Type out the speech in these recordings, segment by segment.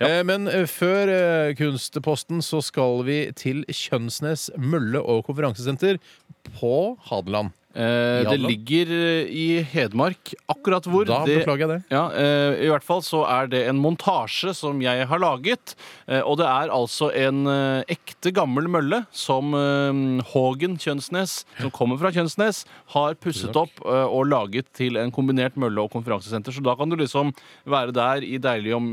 Eh, Men eh, før eh, Kunstposten så skal vi til Kjønnsnes mølle- og konferansesenter på Hadeland. Eh, det Jalla. ligger eh, i Hedmark. Akkurat hvor. Da det, beklager jeg det. Ja, eh, I hvert fall så er det en montasje som jeg har laget. eh, og det er altså en eh, ekte gammel mølle som eh, Hågen Kjønnsnes, som kommer fra Kjønnsnes, har pusset opp eh, og laget til en kombinert mølle- og konferansesenter. Så da kan du liksom være der i deilige om,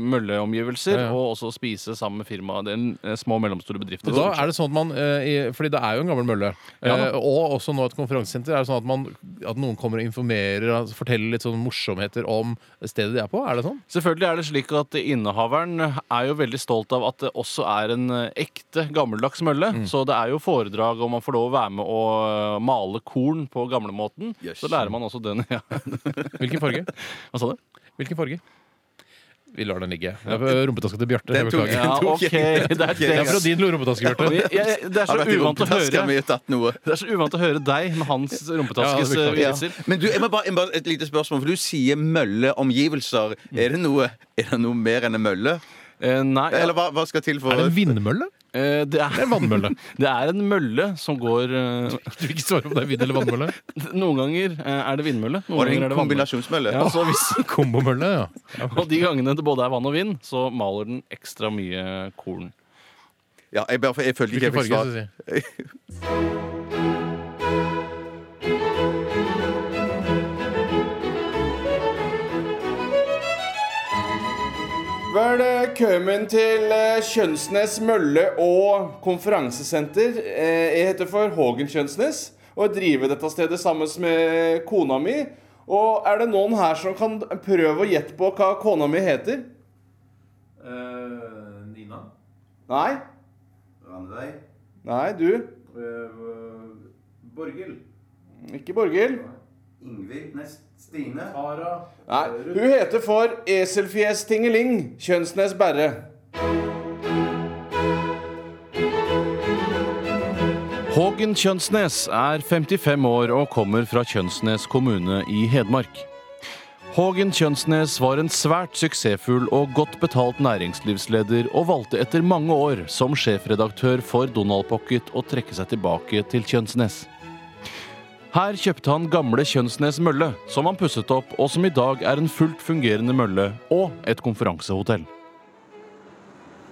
Ja, mølleomgivelser ja. og også spise sammen med firmaet. Det er en- eh, Små og mellomstore bedrifter. Da er det sånn at man, eh, i- fordi det er jo en gammel mølle, Ja da. eh, og også nå et konferansesenter, er det sånn at, man, at noen kommer og informerer altså forteller litt sånn morsomheter om stedet de er på? Er det sånn? Selvfølgelig er det slik at innehaveren er jo veldig stolt av at det også er en eh, ekte gammeldags mølle. Mm. Så det er jo foredrag om man får lov å være med og eh, male korn på gamlemåten. Yes. Så lærer man også den. Ja. Hvilken farge? Hva sa du? Hvilken farge? Vi lar den ligge. Det er på rumpetaska til Bjarte. Den jeg tok- beklager. Ja, tok OK. jeg. Det er, Det er fra det. din rumpetaske, Bjarte. Jeg, jeg, det er Har så vært i uvant å rumpetaska mi høre og tatt noe. det er så uvant å høre deg med hans Ja, det rumpetaskes eh, beklager jeg. Ja. vitser. Men du, jeg må bare, jeg må bare et lite spørsmål, for du sier mølleomgivelser. Er det noe, er det noe mer enn en mølle? Eh, Nei, ja. Eller hva, hva skal til for Er det en vindmølle? Eh, det Det er er, en vannmølle. det er en mølle som går eh, Du vil ikke svare om det er vind eller vannmølle? Noen ganger eh, er det vindmølle, Og noen ganger er det det er en vannmølle. kombinasjonsmølle? Ja, så hvis, Kombomølle, ja. Og de gangene det både er vann og vind, så maler den ekstra mye korn. Ja, jeg, bare, jeg følte ikke jeg Hvilken fikk farge? svar. skal jeg si? Velkommen til eh, Kjønnsnes mølle og konferansesenter. Eh, Jeg heter for Hågen Kjønnsnes og jeg driver dette stedet sammen med kona mi. Og er det noen her som kan prøve å gjette på hva kona mi heter? Eh, Nina? Nei? Ranveig? Nei, du? Eh, Borghild? Ikke Borghild? Ingvild? Nei, Stine? Nei, hun heter for Eselfjes Tingeling Kjønnsnes Berre. Hågen Kjønsnes er 55 år og kommer fra Kjønsnes kommune i Hedmark. Hågen Kjønsnes var en svært suksessfull og godt betalt næringslivsleder og valgte etter mange år som sjefredaktør for Donald Pocket å trekke seg tilbake til Kjønsnes. Her kjøpte han gamle Kjønsnes mølle, som han pusset opp, og som i dag er en fullt fungerende mølle og et konferansehotell.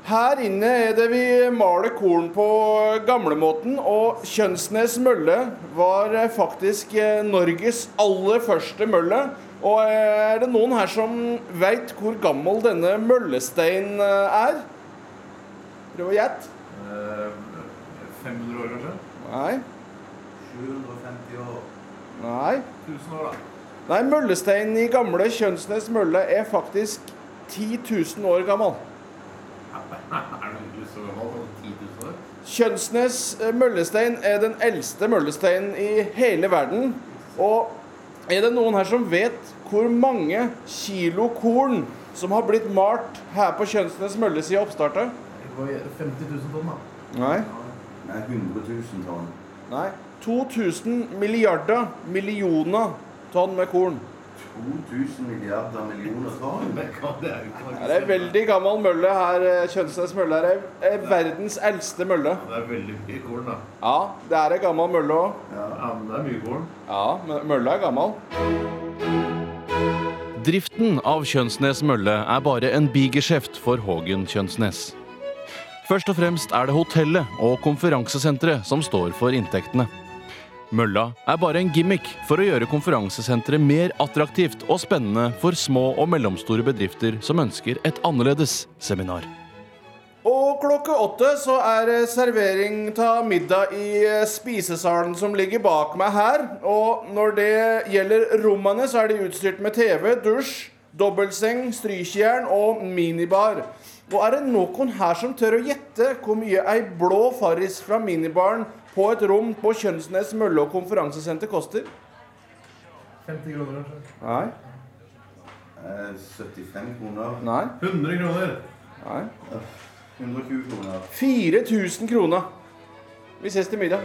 Her inne er det vi maler korn på gamlemåten, og Kjønnsnes mølle var eh, faktisk eh, Norges aller første mølle. Og eh, er det noen her som veit hvor gammel denne møllesteinen eh, er? Prøv å gjette. 500 år, kanskje? Nei. 750 år. Nei. 1000 år, da. Nei, møllesteinen i gamle Kjønnsnes mølle er faktisk 10 000 år gammel. Er du ikke så gammel? 10 000 år? Kjønnsnes eh, møllestein er den eldste møllesteinen i hele verden. Og er det noen her som vet hvor mange kilo korn som har blitt malt her på Kjønnsnes mølle siden oppstartet? Det var 50 000 tonn, da. Nei. Nei, 100 000 tonn. Nei. 2000 milliarder millioner tonn med korn. 2000 milliarder millioner tonn? Det kan det er jo ikke Det er ei veldig gammel mølle her. eh, Kjønnsnes mølle er, ei- er verdens eldste mølle. Det er veldig mye korn, da. Ja, det er ei gammel mølle òg. Ja, men det er mye korn. Ja, men mølla er gammel. Driften av Kjønsnes Mølle er bare en bigeskjeft for Hågen Kjønsnes. Først og fremst er det hotellet og konferansesenteret som står for inntektene. Mølla er bare en gimmick for å gjøre konferansesenteret mer attraktivt og spennende for små og mellomstore bedrifter som ønsker et annerledes seminar. Og klokka åtte så er det servering av middag i eh, spisesalen som ligger bak meg her. Og når det gjelder rommene, så er de utstyrt med TV, dusj, dobbeltseng, strykjern og minibar. Og er det noen her som tør å gjette hvor mye ei blå farris fra minibaren på et rom på Kjønnsnes mølle- og konferansesenter koster? 50 kroner, kanskje? Nei. 75 Eh, kroner. Nei. 100 kroner! Nei. 120 kroner. 4000 kroner. Vi ses til middag.